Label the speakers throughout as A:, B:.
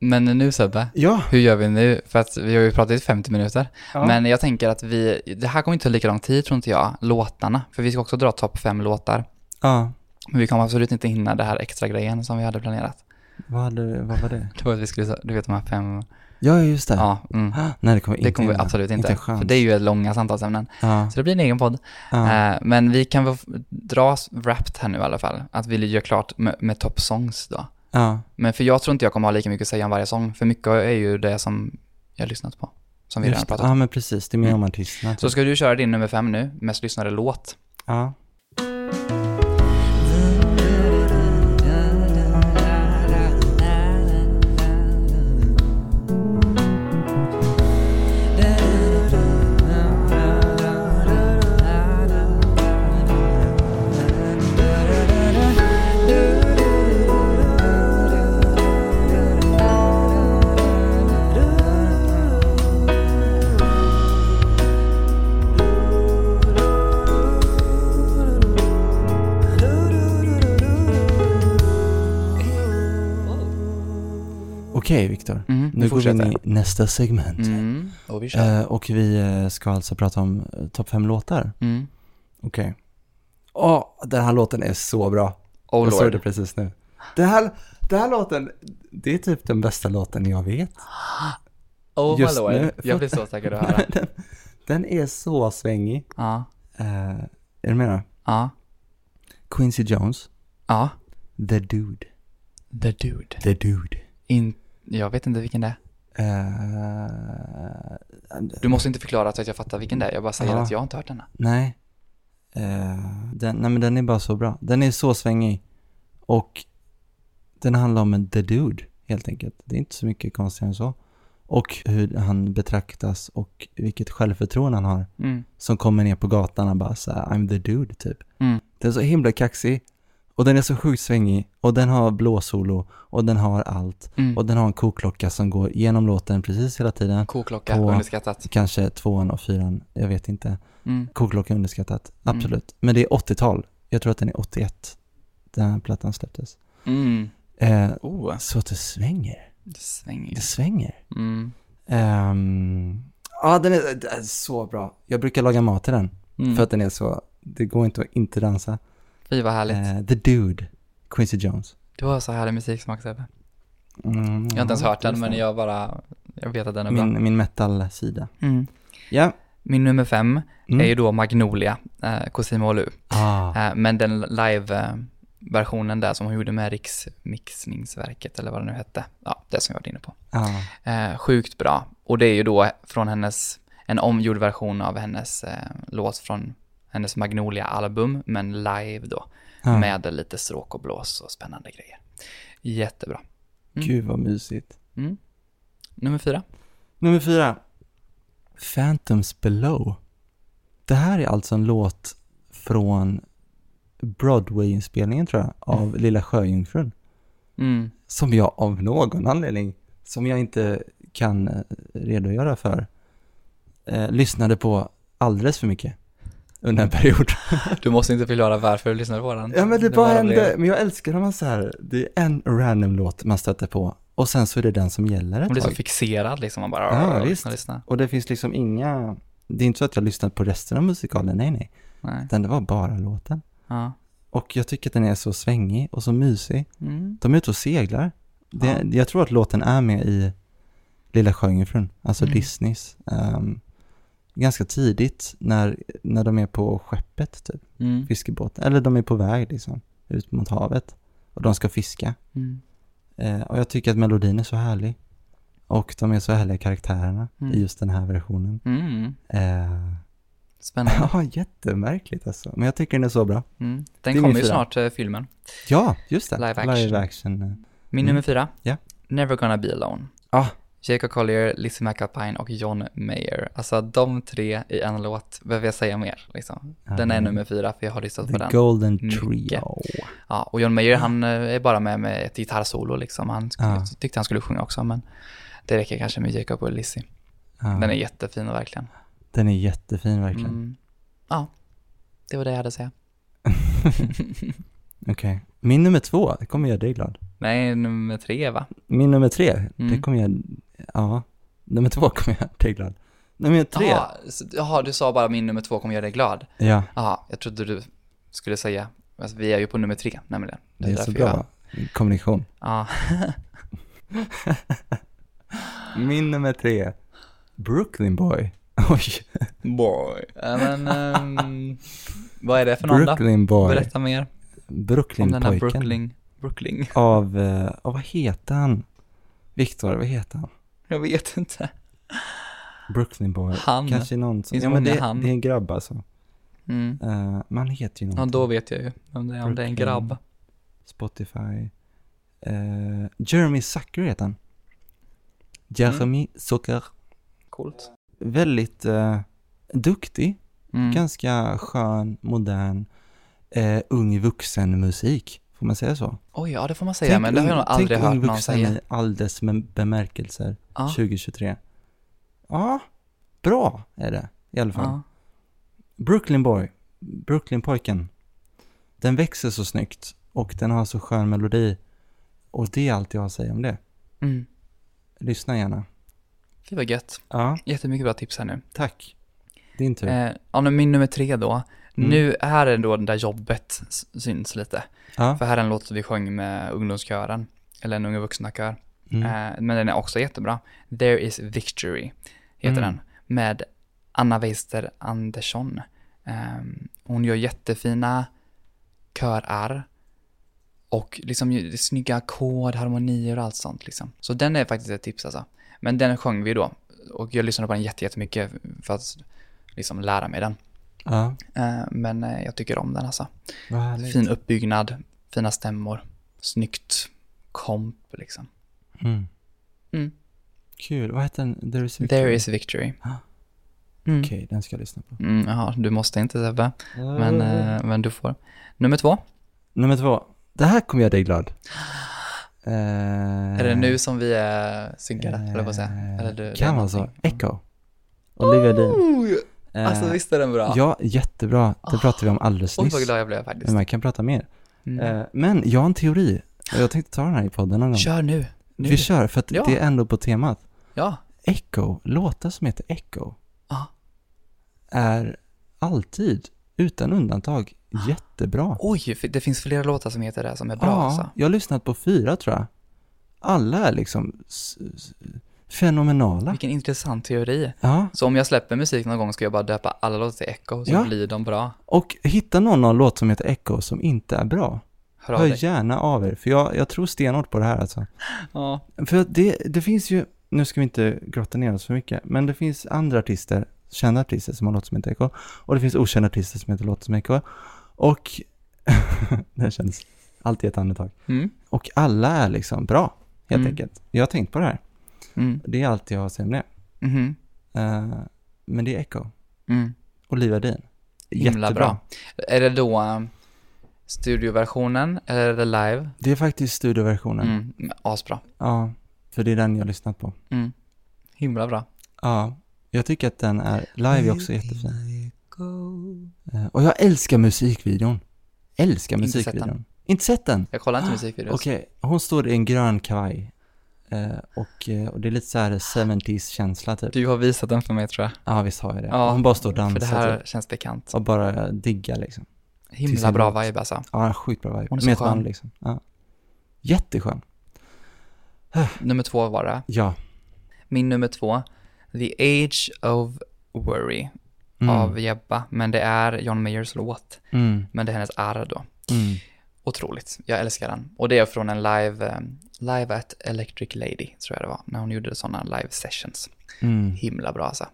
A: Men nu Sebbe,
B: Ja,
A: hur gör vi nu? För att vi har ju pratat i 50 minuter.
B: Ja.
A: Men jag tänker att vi, det här kommer inte ta lika lång tid tror inte jag, låtarna. För vi ska också dra topp fem låtar.
B: ja.
A: Men vi kommer absolut inte hinna det här extra grejen som vi hade planerat.
B: Vad, hade, vad var det?
A: Det var att vi skulle, du vet de här fem,
B: Ja, just det.
A: ja, mm.
B: Ah, Nej, det kommer vi
A: Det
B: inte
A: kommer vi
B: hinna.
A: absolut inte.
B: Inte en
A: för
B: chans.
A: det är ju långa samtalsämnen.
B: Ja,
A: Så det blir en egen podd.
B: ja.
A: Eh, men vi kan väl f- dra s- wrapped här nu i alla fall. Att vi gör klart med, med top songs då.
B: ja.
A: Men för jag tror inte jag kommer ha lika mycket att säga om varje sång. För mycket är ju det som jag har lyssnat på. Som vi redan
B: Just-
A: pratat Mm. om.
B: Ja, men precis. Det är mer om artisterna.
A: Så ska du köra din nummer fem nu, mest lyssnade låt.
B: Ja. Okej, Viktor.
A: Mm, vi
B: Nu går vi in
A: fortsätter.
B: i nästa segment.
A: Mm, och vi kör.
B: Eh, och vi eh, ska alltså prata om eh, topp fem låtar.
A: Mm.
B: Okej. Åh, den här låten är så bra.
A: Oh
B: jag såg det
A: lord.
B: precis nu. Den här, den här låten, det är typ den bästa låten jag vet.
A: Oh my
B: just
A: lord.
B: nu.
A: Jag blir så säker att höra.
B: den, den är så svängig.
A: Ja,
B: Eh, är du med då?
A: ja,
B: Quincy Jones,
A: ja.
B: The Dude.
A: The Dude.
B: The Dude.
A: In, jag vet inte vilken det är.
B: Eh,
A: Du måste inte förklara så att jag fattar vilken det är. Jag bara säger
B: Ja.
A: att jag har inte hört denna.
B: nej. Eh, den, nej men den är bara så bra. Den är så svängig. Och den handlar om en The Dude helt enkelt. Det är inte så mycket konstigare än så. Och hur han betraktas och vilket självförtroende han har.
A: Mm.
B: som kommer ner på gatan och bara så här, I'm the dude typ.
A: Mm.
B: Den är så himla kaxig och den är så sjukt svängig och den har blåsolo och den har allt
A: Mm.
B: och den har en koklocka som går genom låten precis hela tiden.
A: Koklocka,
B: På-
A: underskattat.
B: Kanske tvåan och fyran, jag vet inte.
A: Mm.
B: Koklocka är underskattat, absolut. Men det är 80-tal, jag tror att den är 81, den här plattan släpptes.
A: Mm.
B: Eh,
A: Oh,
B: så att det svänger,
A: det svänger.
B: det svänger.
A: Mm.
B: Ehm, ja, den är, den är så bra. Jag brukar laga mat till den.
A: Mm.
B: För att den är så, det går inte att inte dansa.
A: Fy vad härligt.
B: Eh, The Dude, Quincy Jones.
A: Du har så härlig musiksmak Sebbe.
B: Mm,
A: Jag har inte ens hört den men jag bara, jag vet att den är bra.
B: Min, min metal-sida.
A: Mm.
B: Ja.
A: Min nummer fem
B: Mm.
A: är ju då Magnolia, eh, Cosimo Lu.
B: Ah,
A: Eh, men den live-versionen där som hon gjorde med Riksmixningsverket eller vad det nu hette. Ja, det som jag var inne på.
B: ah,
A: Eh, sjukt bra. Och det är ju då från hennes, en omgjord version av hennes eh, låt från hennes Magnolia-album, men live då.
B: ah.
A: Med lite stråk och blås och spännande grejer. Jättebra. Mm.
B: Gud vad mysigt.
A: Nummer fyra.
B: Nummer fyra. Phantoms Below. Det här är alltså en låt från Broadway-inspelningen tror jag, av Lilla Sjöjungfrun.
A: Mm.
B: som jag av någon anledning, som jag inte kan eh, redogöra för, eh, lyssnade på alldeles för mycket under en period.
A: Du måste inte förklara varför du lyssnade på den.
B: ja men det, bara hände,
A: blev-
B: men jag älskar när man så här, det är en random låt man stöter på och sen så är det den som gäller
A: Man
B: ett
A: blir så
B: tag.
A: fixerad liksom. Man bara
B: Ja, visst.
A: lyssnar, lyssnar.
B: Och det finns liksom inga, det är inte så att jag lyssnat på resten av musikalen, nej nej,
A: Nej.
B: utan det var bara låten.
A: Ja.
B: Och jag tycker att den är så svängig och så mysig.
A: Mm.
B: De är ute och seglar. Det, Jag tror att låten är med i Lilla Sjöjungfrun, alltså
A: Mm.
B: Disneys. ehm, ganska tidigt när, när de är på skeppet, typ,
A: Mm.
B: fiskebåten. Eller de är på väg liksom, ut mot havet. Och de ska fiska.
A: Mm.
B: Eh, och jag tycker att melodin är så härlig. Och de är så härliga karaktärerna
A: Mm.
B: i just den här versionen.
A: Mm.
B: Eh,
A: Spännande.
B: ja, jättemärkligt alltså. Men jag tycker den är så bra.
A: Mm.
B: är min
A: Den kommer ju
B: fyra.
A: snart, eh, filmen.
B: Ja, just det.
A: Live action.
B: Live action. eh.
A: Min nummer fyra.
B: Ja.
A: Never gonna be alone.
B: Ah.
A: Jacob Collier, Lizzie McAlpine och John Mayer. Alltså de tre i en låt, behöver jag säga mer liksom? Den är
B: men-
A: nummer fyra för jag har lyssnat på
B: The
A: den.
B: Golden
A: Mycket.
B: Trio.
A: Ja, och John Mayer han eh, är bara med med ett gitarrsolo liksom. Han skulle,
B: Ja.
A: tyckte han skulle sjunga också men det räcker kanske med Jacob och Lizzie.
B: Ja.
A: Den är Mm. jättefin verkligen.
B: Den är jättefin verkligen.
A: Mm. Ja, det var det jag hade att säga.
B: Okej. Min nummer två, det kommer göra dig glad.
A: Nej, nummer tre va?
B: Min nummer tre, det
A: Mm.
B: kommer göra, ja. Nummer två kommer göra dig glad. Nummer tre,
A: Jaha, så- Jaha, du sa bara min nummer två kommer göra dig glad.
B: ja.
A: Jaha, jag trodde du skulle säga, alltså, vi är ju på nummer tre nämligen.
B: Det är, så
A: därför
B: bra
A: Jag,
B: kommunikation.
A: ja,
B: Min nummer tre, Brooklyn Boy. Oj,
A: boy. Men, ehm, vad är det för någon då?
B: Brooklyn Boy.
A: Berätta mer om den här
B: Brooklyn-pojken.
A: Brooklyn. Brooklyn.
B: Av, eh, av, vad heter han? Viktor, vad heter han?
A: Jag vet inte.
B: Brooklyn Boy.
A: Han.
B: Kanske någon som,
A: Mm. Finns
B: ja men
A: många
B: det,
A: han.
B: det är en grabb alltså.
A: Mm.
B: Eh, men han heter ju
A: Ja,
B: någonting.
A: då vet jag ju om det, om det är en
B: Brooklyn.
A: grabb.
B: Spotify. Eh, Jeremy Zucker heter han. Jeremy
A: Mm.
B: Zucker.
A: Coolt.
B: Väldigt eh, duktig,
A: Mm.
B: ganska skön, modern, eh, ung vuxen musik. Får man säga så?
A: Oj, ja det får man säga, men det har jag
B: ung-
A: nog aldrig
B: tänk
A: hört
B: ung
A: någon
B: vuxen
A: säga.
B: i all dess bem- bemärkelser
A: Ja,
B: 2023. Ja, bra är det i alla fall.
A: ja.
B: Brooklyn Boy, Brooklyn-pojken. Den växer så snyggt och den har så skön melodi. Och det är allt jag har att säga om det.
A: Mm.
B: Lyssna gärna.
A: Gud vad gött.
B: Ja,
A: Jättemycket bra tips här nu.
B: tack. Din tur.
A: Eh, ja, men min nummer tre då.
B: Mm.
A: Nu, här är då det där jobbet s- syns lite.
B: ja.
A: För här är en låt vi sjöng med ungdomskören, eller en unga vuxna kör.
B: Mm.
A: Eh, men den är också jättebra. There is victory, heter
B: Mm.
A: den. Med Anna Weister Andersson. Eh, hon gör jättefina körar. Och liksom ju- snygga ackord, harmonier och allt sånt liksom. Så den är faktiskt ett tips alltså. Men den sjöng vi då. Och jag lyssnade på den jätte- jättemycket för att liksom lära mig den.
B: ja,
A: Eh, men eh, jag tycker om den alltså.
B: vad härligt.
A: Fin uppbyggnad, fina stämmor, snyggt komp liksom.
B: Mm.
A: Mm.
B: Kul. Vad heter den? There is
A: There is victory.
B: Ah.
A: Mm.
B: Okej, den ska jag lyssna på.
A: Mm, ja, du måste inte Sebbe,
B: Mm.
A: men, eh, men du får. Nummer två,
B: Nummer två. Det här kommer göra dig glad.
A: är det nu som vi är synkade, eller på att säga? Eller du, det är
B: Eh. kan vara så.
A: någonting.
B: Echo. Olivia Dean.
A: Oj,
B: Eh,
A: Alltså visst är den bra?
B: Ja, jättebra. Det pratade vi om alldeles
A: Oj
B: nyss.
A: vad glad jag blev faktiskt.
B: Men man kan prata mer.
A: Mm.
B: Eh, Men jag har en teori. och Jag tänkte ta den här i podden någon gång.
A: Kör nu, nu.
B: Vi kör, för att
A: Ja.
B: det är ändå på temat.
A: Ja,
B: Echo, låtar som heter Echo,
A: Ja.
B: är alltid, utan undantag, jättebra.
A: oj, f- det finns flera låtar som heter det som är Ah. bra alltså.
B: Ja, jag har lyssnat på fyra tror jag. Alla är liksom s- s- fenomenala.
A: Vilken intressant teori.
B: Ja,
A: Så om jag släpper musik någon gång ska jag bara döpa alla låtar till Echo, så
B: Ja.
A: blir de bra.
B: och hitta någon av låt som heter Echo som inte är bra.
A: Hör av
B: Hör
A: dig.
B: gärna av er, för jag, jag tror stenhårt på det här alltså.
A: Ja.
B: För att det, det finns ju, nu ska vi inte grotta ner oss för mycket, men det finns andra artister, kända artister som har låt som heter Echo, och det finns okända artister som heter låt som Echo. Och, det här känns alltid ett andetag.
A: Mm.
B: Och alla är liksom bra, helt
A: Mm.
B: enkelt. Jag har tänkt på det här.
A: Mm.
B: Det är allt jag har att säga om det.
A: Mhm.
B: Eh, men det är Echo.
A: Mm.
B: Olivia Dean.
A: Himla bra. Är det då um, studioversionen eller är det live?
B: Det är faktiskt studioversionen.
A: Mm. Asbra.
B: Ja, för det är den jag har lyssnat på.
A: Mm. Himla bra.
B: Ja, jag tycker att den är, live är också jättefin. Eh, Och jag älskar musikvideon. Älskar
A: Inte sett
B: musikvideon. Inte sett den? Inte sett den?
A: Jag kollar inte musikvideos.
B: Okej, hon står i en grön kavaj. Eh, och, eh, och det är lite så här 70s känsla typ.
A: Du har visat den för mig tror jag.
B: Ja, visst har jag det.
A: Ja,
B: och hon bara står och
A: För
B: dansar
A: det här
B: typ.
A: känns bekant.
B: Och bara diggar liksom. till
A: Himla
B: sin
A: bra
B: låt.
A: vibe alltså.
B: Ja, skitbra vibe.
A: Hon är så
B: Med ett
A: skön.
B: band liksom. Ja. Jätteskön.
A: Nummer två var det.
B: Ja.
A: Min nummer två, The Age of Worry
B: Mm.
A: av Jebba. Men det är John Mayers låt.
B: Mm.
A: Men det är hennes arr då.
B: Mm.
A: Otroligt. Jag älskar den. Och det är från en live, eh, live at Electric Lady, tror jag det var. När hon gjorde sådana live sessions.
B: Mm.
A: Himla bra alltså.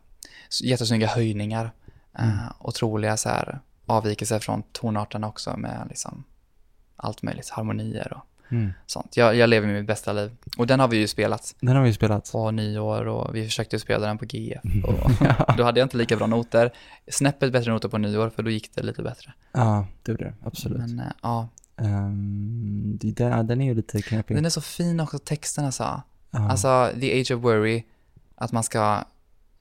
A: S- Jättesnygga höjningar. eh, otroliga så här avvikelser från tonarterna också med liksom allt möjligt, harmonier och
B: Mm.
A: sånt. Jag, jag lever mitt bästa liv. Och den har vi ju spelat
B: Den har vi ju spelat.
A: på nyår och vi försökte ju spela den på GF. Och då hade jag inte lika bra noter. Snäppet bättre noter på nyår för då gick det lite bättre.
B: Ja, det gjorde det. Absolut.
A: Men eh, ja,
B: Ehm, det- den, ja, den är ju lite knepig.
A: den är så fin också, texten alltså.
B: Ja.
A: Alltså, the age of worry, att man ska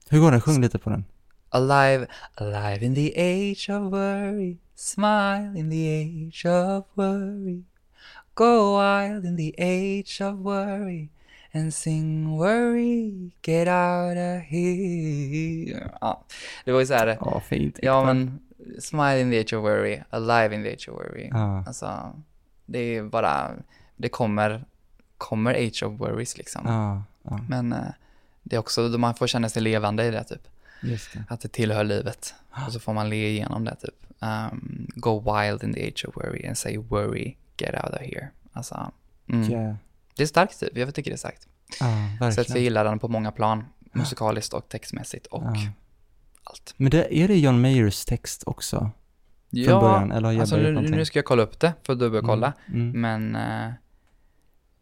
B: Hur går den? Sjung lite på den.
A: alive, alive in the age of worry, smile in the age of worry, Go wild in the age of worry and sing worry, get out of here. Ja, det var ju så här.
B: Ja, fint.
A: Ja, men smile in the age of worry, alive in the age of worry.
B: Ja,
A: Alltså, det är bara, det kommer, kommer age of worries liksom.
B: ja, ja
A: Men eh, det är också, då man får känna sig levande i det typ.
B: just det.
A: Att det tillhör livet. Och så får man le igenom det typ. Um, go wild in the age of worry and say worry, get out of here. Alltså, mm.
B: Ja,
A: det är starkt typ. Jag tycker det är starkt.
B: ja,
A: Så att jag
B: verkligen.
A: gillar den på många plan. Musikaliskt och textmässigt och
B: Ja.
A: allt.
B: Men det, är det John Mayers text också? Från
A: Ja,
B: början? Eller har jag
A: alltså
B: börjat
A: nu,
B: någonting?
A: nu ska jag kolla upp det för att dubbelkolla.
B: Mm. Mm.
A: Men, eh,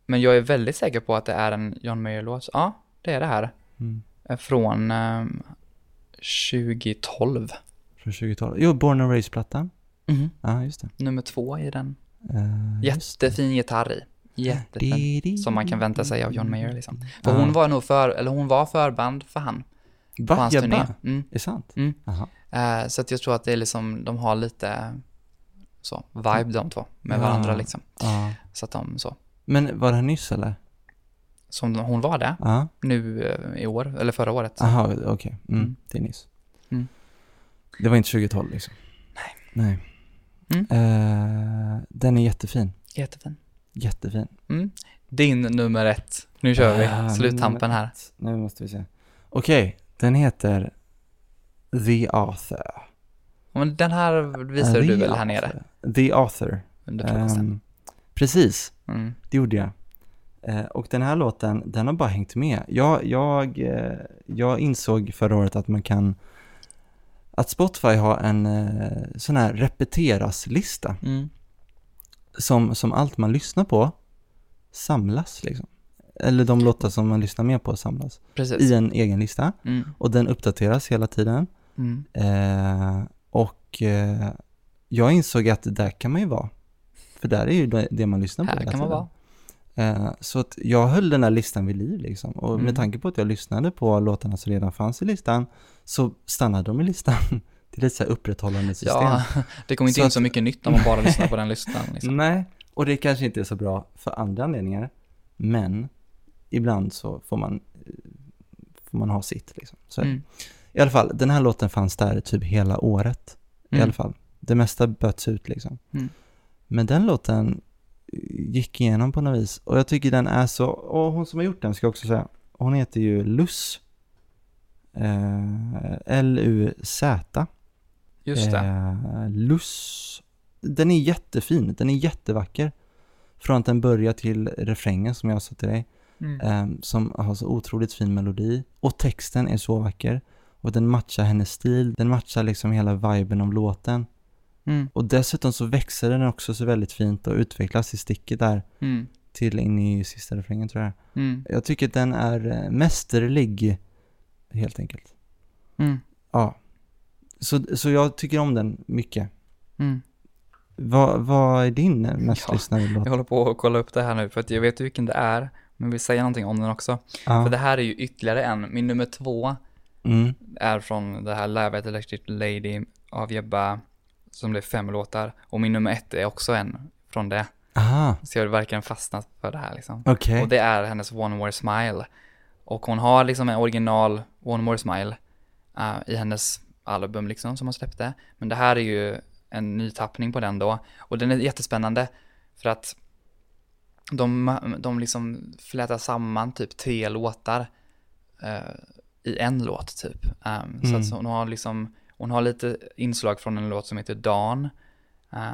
A: men jag är väldigt säker på att det är en John Mayer-låt. Ja, det är det här.
B: Mm.
A: Eh, Från eh, 2012.
B: Från 20-talet. Jo, Born and Raised-plattan.
A: Mhm.
B: Ja, just det.
A: Nummer två i den.
B: Eh, Mm-hmm. just det. Äh,
A: Jättefin gitarr i. Jättefin.
B: Di-
A: Som man kan vänta sig av John Mayer liksom. För
B: Ah.
A: hon var nog för, eller hon var förband för han. På
B: Va?
A: hans turné.
B: Jabba?
A: Mm.
B: Är det sant?
A: Mm.
B: Aha.
A: Eh, så att jag tror att det är liksom, de har lite så, vibe de två med
B: Ah.
A: varandra liksom.
B: Ja.
A: Så att de så.
B: Men var det här nyss eller?
A: Som hon var det
B: Ja.
A: nu eh, i år, eller förra året.
B: Aha, okej. Mm,
A: Mm.
B: Det är nyss.
A: Mm.
B: Det var inte 2012 liksom? Nej.
A: Mm.
B: Eh, den är jättefin.
A: Jättefin. Mm.
B: Jättefin.
A: Din nummer ett. Nu kör
B: Ah,
A: vi sluttampen här.
B: Nu måste vi se. Okej, den heter The Author.
A: Men den här visade
B: The
A: du väl här nere
B: Author. The Author.
A: under frukosten?
B: Ehm, precis.
A: Mm.
B: Det gjorde jag. Eh, och den här låten, den har bara hängt med. Jag, jag, eh, jag insåg förra året att man kan, att Spotify har en eh, sån här repeteras-lista
A: Mm.
B: som, som allt man lyssnar på samlas liksom. Eller de låtar som man lyssnar mer på samlas
A: Precis.
B: i en egen lista.
A: Mm.
B: Och den uppdateras hela tiden.
A: Mm.
B: Eh, och eh, jag insåg att där kan man ju vara. För där är ju det, det man lyssnar på
A: Här
B: hela
A: kan man
B: tiden.
A: vara.
B: Eh, Så att jag höll den här listan vid liv liksom. Och
A: Mm.
B: med tanke på att jag lyssnade på låtarna som redan fanns i listan så stannade de i listan. Det är lite så här upprätthållande system.
A: Ja, det kommer inte
B: Så
A: in
B: att-
A: så mycket nytt om man bara lyssnar på den listan. Liksom.
B: Nej, och det kanske inte är så bra för andra anledningar. Men ibland så får man, eh, får man ha sitt liksom. Så är det.
A: Mm.
B: I alla fall, den här låten fanns där typ hela året. i
A: Mm.
B: alla fall. Det mesta böts ut liksom.
A: Mm.
B: Men den låten gick igenom på något vis och jag tycker den är så, och hon som har gjort den ska jag också säga, hon heter ju Luz. Eh, L-U-Z.
A: Just det.
B: Eh, Luz. Den är jättefin, den är jättevacker. Från att den börjar till refrängen som jag sa till dig
A: Mm.
B: eh, som har så otroligt fin melodi och texten är så vacker och den matchar hennes stil, den matchar liksom hela viben av låten
A: Mm.
B: och dessutom så växer den också så väldigt fint och utvecklas i sticket där
A: Mm.
B: till in i sista refrängen tror jag.
A: Mm.
B: Jag tycker att den är eh, mästerlig helt enkelt.
A: Mm.
B: Ja. Så, så jag tycker om den mycket.
A: Mm.
B: Vad vad är din mest
A: Ja,
B: lyssnade låt?
A: Jag håller på att kolla upp det här nu för att jag vet vilken det är. Men vill säga någonting om den också.
B: Ja.
A: För det här är ju ytterligare en. Min nummer två
B: Ah, Mm.
A: är från det här Live at Electric Lady av Jebba som blev fem låtar. Och min nummer ett är också en från det.
B: Aha,
A: Så jag har verkligen fastnat för det här liksom.
B: okej.
A: Och det är hennes One More Smile. Och hon har liksom en original One More Smile eh, i hennes album liksom som hon släppte. Men det här är ju en ny tappning på den då. Och den är jättespännande för att de, de liksom flätar samman typ tre låtar eh, i en låt typ. Ehm, Så
B: Mm.
A: att så hon har liksom, hon har lite inslag från en låt som heter Dan. Eh,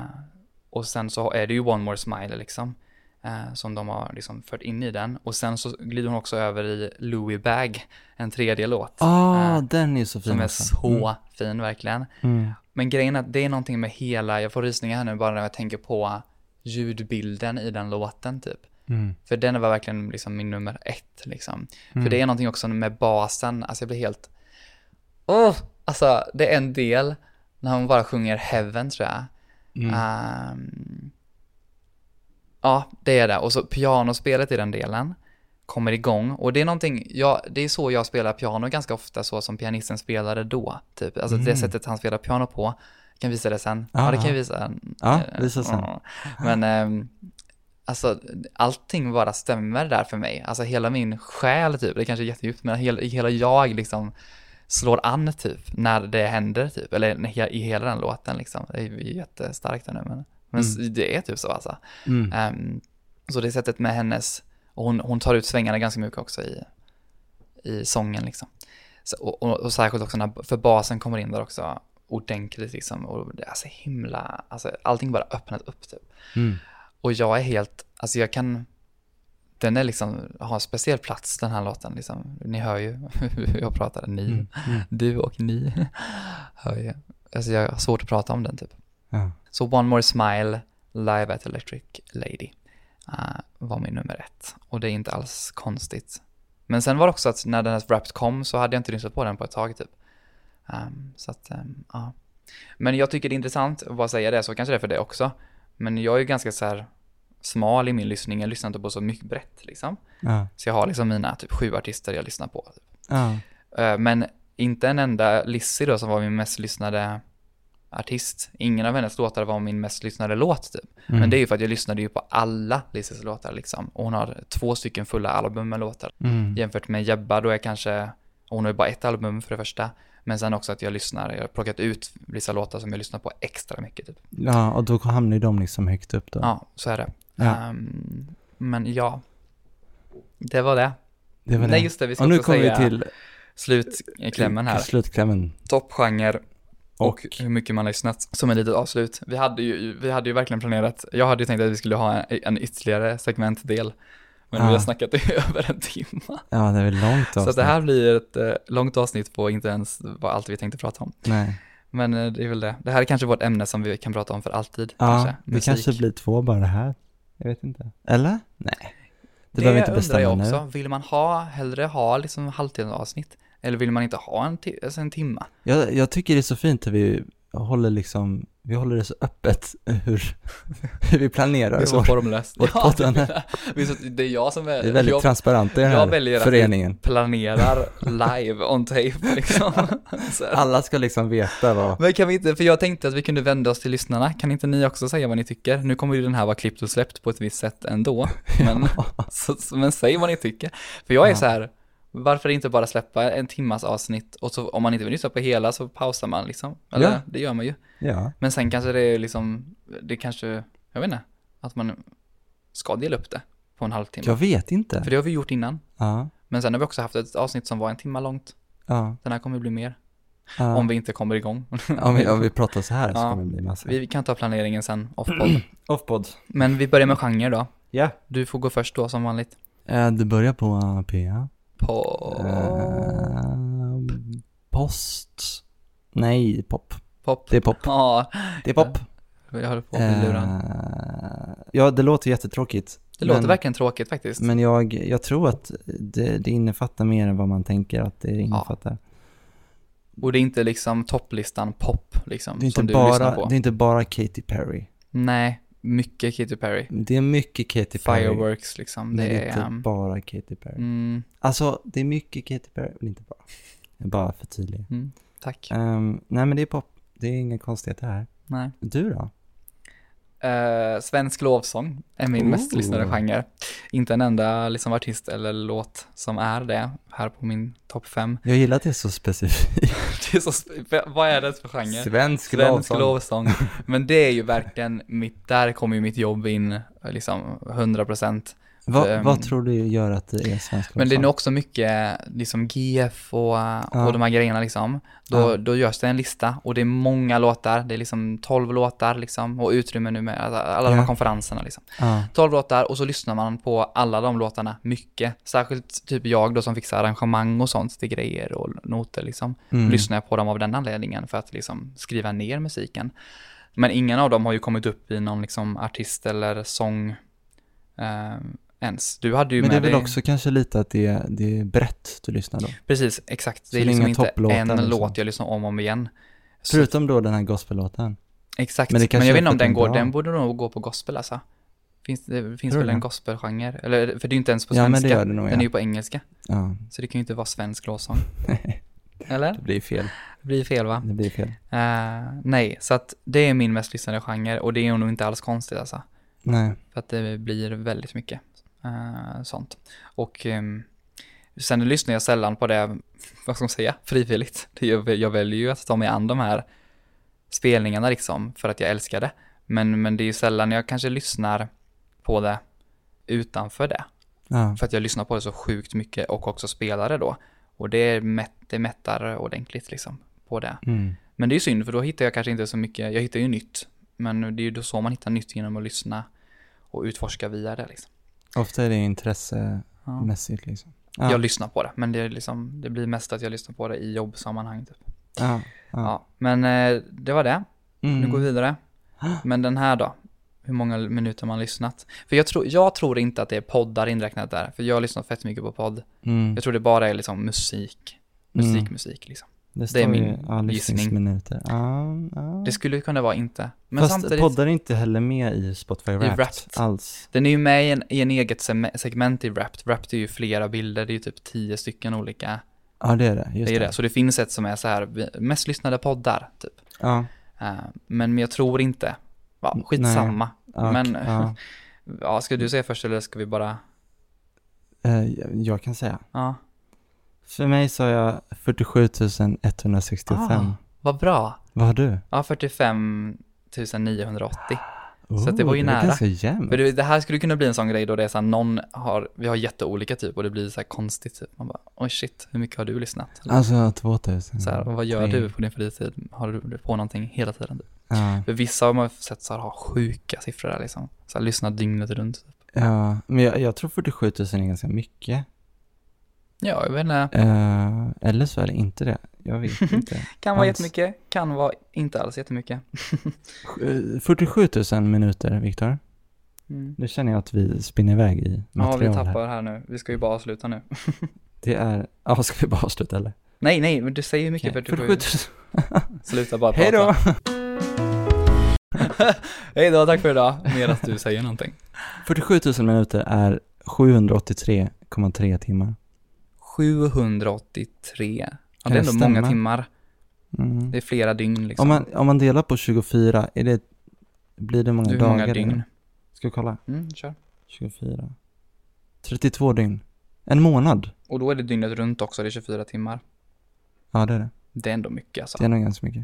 A: och sen så är det ju One More Smile liksom. eh, som de har liksom fört in i den. Och sen så glider hon också över i Louis Bag, en tredje låt.
B: Ah,
A: eh,
B: den är så fin
A: som är
B: också.
A: så fin verkligen.
B: Mm. Mm.
A: Men grejen är att det är någonting med hela, jag får rysningar här nu bara när jag tänker på ljudbilden i den låten typ.
B: Mm.
A: För den var verkligen liksom min nummer ett liksom.
B: Mm.
A: För det är någonting också med basen, alltså jag blir helt... Åh! Alltså det är en del när hon bara sjunger Heaven tror jag.
B: Mm.
A: Ehm, ja, det är det. Och så pianospelet i den delen kommer igång. Och det är någonting, jag, det är så jag spelar piano ganska ofta, så som pianisten spelade då. Typ. Alltså
B: Mm.
A: det sättet han spelar piano på. Jag kan visa det sen. Eh, Ja, det kan jag visa.
B: Ja, visa sen.
A: Ja. Men ehm, Alltså allting bara stämmer där för mig. Alltså hela min själ typ, det kanske är jättedjupt, men hela, hela jag liksom slår an typ när det händer typ, eller när he- i hela den låten liksom. Det är ju jättestarkt där nu men, men s- det är typ så alltså.
B: Mm.
A: Ehm, så det sättet med hennes, och hon, hon tar ut svängarna ganska mycket också i, i sången liksom. Så, och, och, och särskilt också när, för basen kommer in där också ordentligt liksom. Och det är så himla, alltså allting bara öppnas upp typ.
B: Mm.
A: Och jag är helt, alltså jag kan, den är liksom, har en speciell plats den här låten liksom. Ni hör ju hur jag pratar, ni,
B: Mm. Mm.
A: du och ni hör ju. Alltså jag har svårt att prata om den typ.
B: Ja.
A: Så One More Smile, Live at Electric Lady, eh, var min nummer ett. Och det är inte alls konstigt. Men sen var det också att när den här Wrapped kom så hade jag inte lyssnat på den på ett tag typ. Ehm, så att, ehm, ja. Men jag tycker det är intressant att bara säga det, så kanske det är för det också. Men jag är ju ganska så här smal i min lyssning, jag lyssnar inte på så mycket brett liksom.
B: Ja.
A: Så jag har liksom mina typ sju artister jag lyssnar på. Typ.
B: Ja.
A: Eh, Men inte en enda Lizzie då som var min mest lyssnade artist. Ingen av hennes låtar var min mest lyssnade låt typ.
B: Mm.
A: Men det är ju för att jag lyssnade ju på alla Lizzies låtar liksom. Och hon har två stycken fulla album med låtar.
B: Mm.
A: Jämfört med Jebba då är kanske, hon har ju bara ett album för det första. Men sen också att jag lyssnar, jag har plockat ut vissa låtar som jag lyssnar på extra mycket typ.
B: Ja, och då hamnar ju de liksom högt upp då.
A: Ja, så är det.
B: Ja.
A: Ehm, men ja, det var det.
B: det var
A: Nej
B: det.
A: just det, vi ska
B: och nu
A: också
B: kommer vi
A: säga
B: till
A: slutklämmen här.
B: slutklämmen.
A: Toppgenre och,
B: Och,
A: hur mycket man har lyssnat som ett litet avslut. Vi hade ju, vi hade ju verkligen planerat, jag hade ju tänkt att vi skulle ha en, en ytterligare segmentdel. Men vi
B: Ja.
A: har snackat i över en timme.
B: ja, Ah. det är väl långt
A: Så
B: avsnitt.
A: att det här blir ett eh, långt avsnitt på inte ens vad allt vi tänkte prata om.
B: Nej.
A: Men eh, det är väl det. Det här är kanske vårt ämne som vi kan prata om för alltid.
B: Ja,
A: kanske.
B: det
A: Musik.
B: kanske blir två bara här. Jag vet inte. Eller? Nej. Det, behöver vi inte
A: undrar jag
B: bestämma
A: också.
B: nu.
A: Vill man ha, hellre ha liksom halvtidens avsnitt? Eller vill man inte ha en, ti- alltså en timma?
B: Jag, jag tycker det är så fint att vi håller liksom, vi håller det så öppet hur, hur vi planerar
A: Det är så
B: vår-
A: formlöst.
B: vårt
A: Ja,
B: poddande.
A: det är- det är så- det är jag som är...
B: Vi är väldigt
A: jag-
B: transparenta i den
A: jag
B: här
A: väljer att-
B: föreningen.
A: planerar live on tape liksom. Så här.
B: Alla ska liksom veta vad...
A: Men kan vi inte, för jag tänkte att vi kunde vända oss till lyssnarna, kan inte ni också säga vad ni tycker? Nu kommer ju den här vara klippt och släppt på ett visst sätt ändå, men, så, så- men säg vad ni tycker. För jag är
B: Ja.
A: så här, varför inte bara släppa en timmas avsnitt och så om man inte vill lyssna på hela så pausar man liksom. Eller
B: Ja.
A: det gör man ju.
B: Ja.
A: Men sen kanske det är liksom, det kanske, jag vet inte, att man ska dela upp det på en halvtimme.
B: Jag vet inte.
A: För det har vi gjort innan.
B: Ja.
A: Men sen har vi också haft ett avsnitt som var en timma långt.
B: Ja.
A: Den här kommer ju bli mer.
B: ja.
A: Om vi inte kommer igång.
B: Om vi, om vi pratar så här så
A: Ja.
B: kommer det bli massa.
A: Vi kan ta planeringen sen, off-podd.
B: Offpod.
A: Men vi börjar med genre då.
B: Ja.
A: Du får gå först då som vanligt.
B: Du börjar på eh, PA.
A: På...
B: Eh, post. Nej, pop.
A: pop.
B: Det är pop. Eh,
A: Ja,
B: Det är pop.
A: jag håller på att bli lurad.
B: Eh, ja, det låter jättetråkigt.
A: Det låter
B: men,
A: verkligen tråkigt faktiskt.
B: Men jag, jag tror att det, det innefattar mer än vad man tänker att det innefattar.
A: Och det är inte liksom topplistan pop liksom,
B: det, är inte
A: som du lyssnar
B: bara,
A: på.
B: det är inte bara Katy Perry.
A: Nej, mycket Katy Perry.
B: Det är mycket Katy Perry.
A: Fireworks liksom.
B: Men
A: Det
B: det är
A: är...
B: inte
A: ehm,
B: bara Katy Perry.
A: Mm,
B: Alltså, det är mycket Katy Perry, men inte bara. Jag är bara för tydlig.
A: mm, tack.
B: Ehm, nej, men det är pop. Det är inga konstigheter här.
A: Nej.
B: Du då?
A: Eh, svensk lovsång är min
B: Ooh.
A: mest lyssnade genre. Inte en enda liksom, artist eller låt som är det här på min topp fem.
B: Jag gillar att det är så specifikt.
A: Det är så, sp- vad är det för genre?
B: Svensk
A: Svensk
B: lovsång.
A: lovsång. Men det är ju verkligen mitt, där kommer ju mitt jobb in liksom 100 procent.
B: Va,
A: Ehm,
B: Vad tror du gör att det är svensk lovsång?
A: Men det är nog också mycket liksom GF och, och de här grejerna liksom. Då,
B: Ja.
A: då görs det en lista och det är många låtar, det är liksom 12 låtar liksom och utrymme nu med alla, alla de här
B: Ja.
A: konferenserna liksom.
B: Ja.
A: 12 låtar och så lyssnar man på alla de låtarna mycket. Särskilt typ jag då som fixar arrangemang och sånt till grejer och noter liksom.
B: Mm.
A: Lyssnar jag på dem av den anledningen för att liksom skriva ner musiken. Men ingen av dem har ju kommit upp i någon liksom artist eller sång eh, ens. Du hade ju
B: Men det är
A: med
B: väl
A: dig...
B: också kanske lite att det är, det är brett du lyssnar då.
A: Precis, exakt.
B: Så
A: Det är
B: det är
A: liksom
B: inga
A: inte
B: topplåtar
A: en
B: liksom.
A: låt jag lyssnar om och om igen. Så-
B: Förutom då den här gospellåten.
A: Exakt,
B: Men
A: men,
B: det kanske
A: jag
B: är
A: vet inte
B: för
A: om
B: att den
A: den går,
B: drar.
A: den borde nog gå på gospel alltså. Finns, det finns
B: Tror
A: väl
B: du
A: en
B: det?
A: gospelgenre? Eller, för det är ju inte ens på
B: Ja,
A: svenska.
B: men det gör det nog.
A: Den är ju
B: ja.
A: på engelska.
B: ja.
A: Så det kan ju inte vara svensk lovsång. Eller?
B: Det blir fel.
A: Det blir fel va?
B: Det blir fel.
A: Eh, nej, så att det är min mest lyssnade genre och det är nog inte alls konstigt alltså.
B: Nej.
A: För att det blir väldigt mycket eh, sånt. Och ehm, sen lyssnar jag sällan på det, vad ska man säga, frivilligt. Det Jag, jag väljer ju att ta mig an de här spelningarna liksom, för att jag älskar det. Men, men det är ju sällan jag kanske lyssnar på det utanför det.
B: Ja.
A: För att jag lyssnar på det så sjukt mycket och också spelar det då. Och det, mätt, det mättar ordentligt liksom på det.
B: Mm.
A: Men det är ju synd för då hittar jag kanske inte så mycket, jag hittar ju nytt. Men det är ju då så man hittar nytt genom att lyssna och utforska via det liksom.
B: Ofta är det
A: Ja.
B: intressemässigt liksom. Ja.
A: Jag lyssnar på det, men det, är liksom, det blir mest att jag lyssnar på det i jobbsammanhang. Typ.
B: Ja.
A: Ja.
B: ja.
A: Men eh, det var det,
B: Mm.
A: nu går vi vidare. Men den här då? Hur många minuter man har lyssnat? För jag, tror jag tror inte att det är poddar inräknat där, för jag har lyssnat fett mycket på podd.
B: Mm.
A: Jag tror det bara är liksom musik, musik,
B: Mm.
A: musik liksom.
B: Det,
A: är
B: står
A: min
B: ju, ja,
A: gissning.
B: lyssningsminuter. Ja, ja.
A: Det skulle ju kunna vara inte. Men
B: Fast
A: samtidigt,
B: poddar är inte heller med i Spotify Wrapped,
A: Wrapped.
B: alls.
A: den är ju med i en, i en eget seme- segment i Wrapped. Wrapped är ju flera bilder, det är ju typ tio stycken olika.
B: Ja, det är det. Just
A: Det är det. Så det finns ett som är så här, vi- mest lyssnade poddar, typ.
B: Ja,
A: Eh, Men men jag tror inte. Va, skitsamma.
B: ja,
A: Men-
B: ja.
A: Ja, ska du säga först eller ska vi bara...
B: Eh, jag- Jag kan säga.
A: Ja.
B: För mig så har jag 47 165.
A: Ah. Vad bra.
B: Vad har du?
A: Ja, 45 980. Så att det var ju
B: Oh,
A: nära.
B: Det är ganska jämnt.
A: För det, det här skulle kunna bli en sån grej då det är så här, någon har, vi har jätteolika typ och det blir så här konstigt typ. Man bara, oj shit, hur mycket har du lyssnat? Eller
B: Alltså 2000.
A: Så här, vad gör
B: tre.
A: du på din fritid? Har du på någonting hela tiden?
B: Ja,
A: För vissa har man sett så här, ha sjuka siffror där liksom. Så här, lyssna dygnet runt. Typ.
B: ja. men jag, jag tror 47 000 är ganska mycket.
A: Ja, jag vet inte.
B: Eh, eller så är det inte det. Jag vet inte.
A: Kan vara
B: Hans.
A: jättemycket, kan vara inte alls jättemycket.
B: Eh, 47 000 minuter, Viktor.
A: Mm.
B: Nu känner jag att vi spinner iväg i
A: Ja,
B: material
A: vi
B: här.
A: tappar här nu. Vi ska ju bara avsluta nu.
B: Det är, ja ska vi bara avsluta eller?
A: Nej, nej, men du säger ju mycket för att du får ju
B: 47
A: sluta bara
B: 000. Hej då!
A: prata. Hej då, tack för idag. Medan du säger någonting.
B: 47 000 minuter är 783,3 timmar.
A: 783. Ja,
B: Kan
A: det är
B: det
A: ändå många
B: stämma?
A: timmar.
B: Mm.
A: Det är flera dygn liksom.
B: Om, man, om man delar på 24, är det, blir det många
A: Hur
B: dagar?
A: många dygn?
B: eller? Ska vi kolla?
A: Mm, kör.
B: 24. 32 dygn. En månad.
A: Och då är det dygnet runt också, det är 24 timmar.
B: Ja det är det.
A: Det är ändå mycket alltså.
B: Det är nog ganska mycket.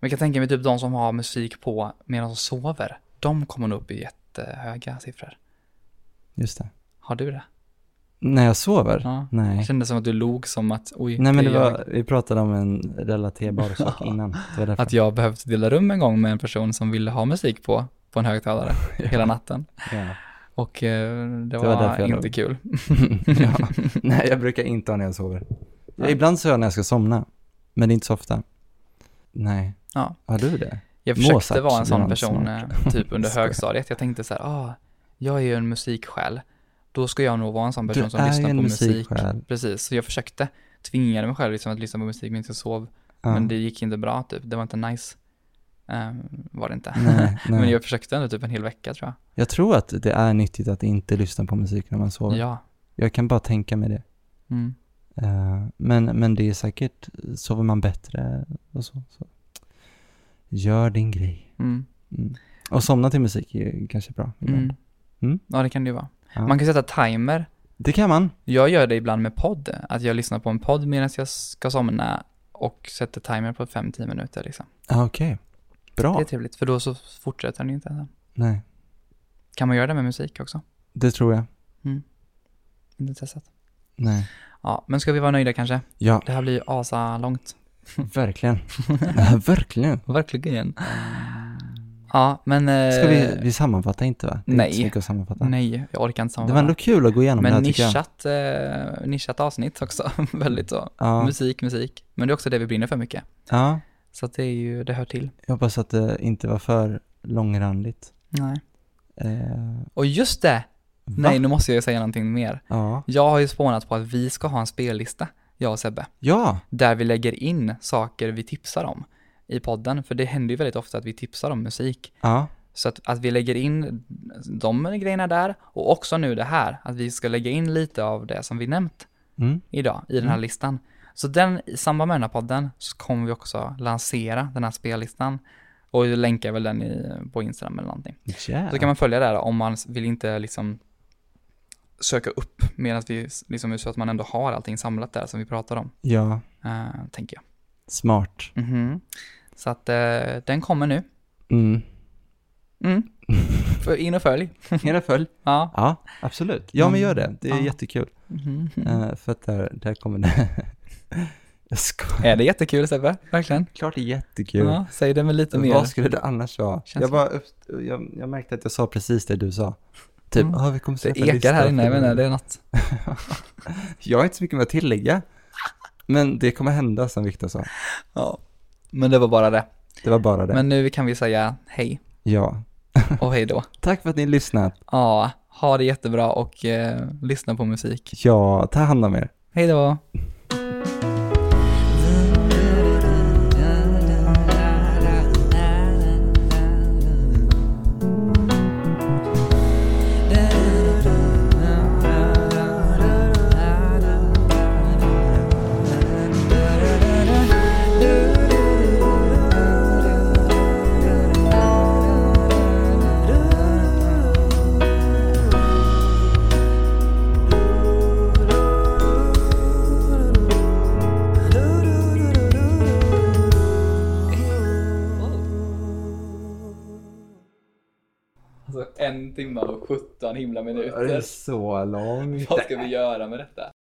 A: Men jag kan tänka mig typ de som har musik på medan de sover. De kommer nog upp i jättehöga siffror.
B: Just det.
A: Har du det?
B: När jag sover?
A: Ja. Det
B: Nej.
A: kändes som att du log som att, oj,
B: Nej men
A: det
B: det
A: är jag.
B: var, vi pratade om en relaterbar sak innan. Det var därför.
A: att jag behövt dela rum en gång med en person som ville ha musik på, på en högtalare hela natten.
B: Ja.
A: Och eh, det,
B: var
A: var,
B: därför jag
A: inte
B: låg.
A: kul.
B: ja. Nej, jag brukar inte ha när jag sover.
A: Nej.
B: Ibland så har jag när jag ska somna, men det är inte så ofta. Nej.
A: Ja.
B: Har du det?
A: Jag försökte
B: Mozart
A: vara en
B: blir
A: sån
B: man
A: person eh, typ under
B: Skojar.
A: högstadiet. Jag tänkte så här, ah, jag är ju en musiksjäl. Då ska jag nog vara en sån person
B: Du
A: som
B: är
A: lyssnar
B: ju en
A: på musik.
B: musiksjäl.
A: Precis, så jag försökte tvingade mig själv liksom att lyssna på musik medan jag sov.
B: Ja.
A: Men det gick inte bra typ, det var inte nice. Ehm, var det inte.
B: Nej, nej.
A: Men
B: jag...
A: jag försökte ändå typ en hel vecka tror
B: tror att det är nyttigt att inte lyssna på musik när man
A: jag.
B: sover.
A: Ja.
B: Jag kan bara tänka mig det.
A: Mm.
B: Eh, men, men det är säkert, sover man bättre och så. så. Gör din grej.
A: Mm.
B: Mm. Och somna till musik är ju kanske bra. ibland.
A: Mm.
B: Mm.
A: Ja, det kan det ju vara.
B: Ja.
A: Man kan sätta timer
B: Det kan man.
A: Jag gör det ibland med podd, att jag lyssnar på en podd medan jag ska somna och sätter timer på 5-10 minuter liksom.
B: Ah, Okej. Bra.
A: Det är trevligt, för då så fortsätter den inte. sen.
B: Nej,
A: Kan man göra det med musik också?
B: det tror jag.
A: Inte testat.
B: Nej.
A: Ja, men ska vi vara nöjda kanske?
B: Ja,
A: Det här blir ju asa långt.
B: verkligen. Ja, verkligen.
A: Verkligen. Ja, men... eh,
B: Ska vi, vi sammanfatta inte va? Det är
A: nej.
B: Inte så mycket att sammanfatta.
A: Nej, jag orkar inte
B: Det var
A: sammanfatta.
B: ändå kul att gå igenom det
A: Men
B: här tycker jag.
A: nischat, eh, nischat avsnitt också. Väldigt så.
B: Ja,
A: Musik, musik. Men det är också det vi brinner för mycket.
B: ja,
A: Så att det är ju, det hör till.
B: jag hoppas att det inte var för långrandigt.
A: Nej.
B: Eh,
A: Och just det!
B: va?
A: Nej, nu måste jag ju säga någonting mer.
B: Ja.
A: Jag har ju spånat på att vi ska ha en spellista, jag och Sebbe,
B: ja,
A: där vi lägger in saker vi tipsar om i podden, för det händer ju väldigt ofta att vi tipsar om musik.
B: ja,
A: Så att, att vi lägger in de grejerna där och också nu det här, att vi ska lägga in lite av det som vi nämnt
B: mm.
A: idag i den här
B: Mm.
A: listan. Så den, i samband med den här podden så kommer vi också lansera den här spellistan Och jag länkar väl den i, på Instagram eller någonting.
B: Yeah.
A: Så kan man följa det här om man vill inte liksom söka upp medan vi, liksom så att man ändå har allting samlat där som vi pratar om,
B: Ja,
A: eh, tänker jag.
B: smart.
A: Mhm. Så att eh, den kommer nu.
B: Mm.
A: Mm. För- In och följ.
B: Hela följ.
A: Ja.
B: Ja, absolut. Ja, men gör det. Det är
A: Mm. Ja.
B: jättekul.
A: Mhm.
B: Eh, för att där, där kommer det. jag skojar.
A: Är det jättekul Sebbe? Verkligen.
B: Klart det är jättekul.
A: Ja, säg det med lite mer.
B: Vad skulle det annars vara?
A: Känns
B: Jag, bara, upp- jag, jag märkte att jag sa precis det du sa. Typ,
A: Mm.
B: ah, vi kommer
A: Det
B: släppa en
A: ekar
B: lista
A: här inne, jag
B: för-
A: menar, det är något.
B: Jag har inte så mycket mer att tillägga. Men det kommer hända som Viktor sa.
A: Ja. Men det var bara det.
B: Det var bara det.
A: Men nu kan vi säga hej
B: Ja.
A: och hej då.
B: Tack för att ni har lyssnat.
A: Ja, ha det jättebra och eh, lyssna på musik.
B: Ja, ta hand om er.
A: Hej då! Alltså en timme och 17 himla minuter.
B: så långt.
A: Alltså, Vad ska vi göra med detta?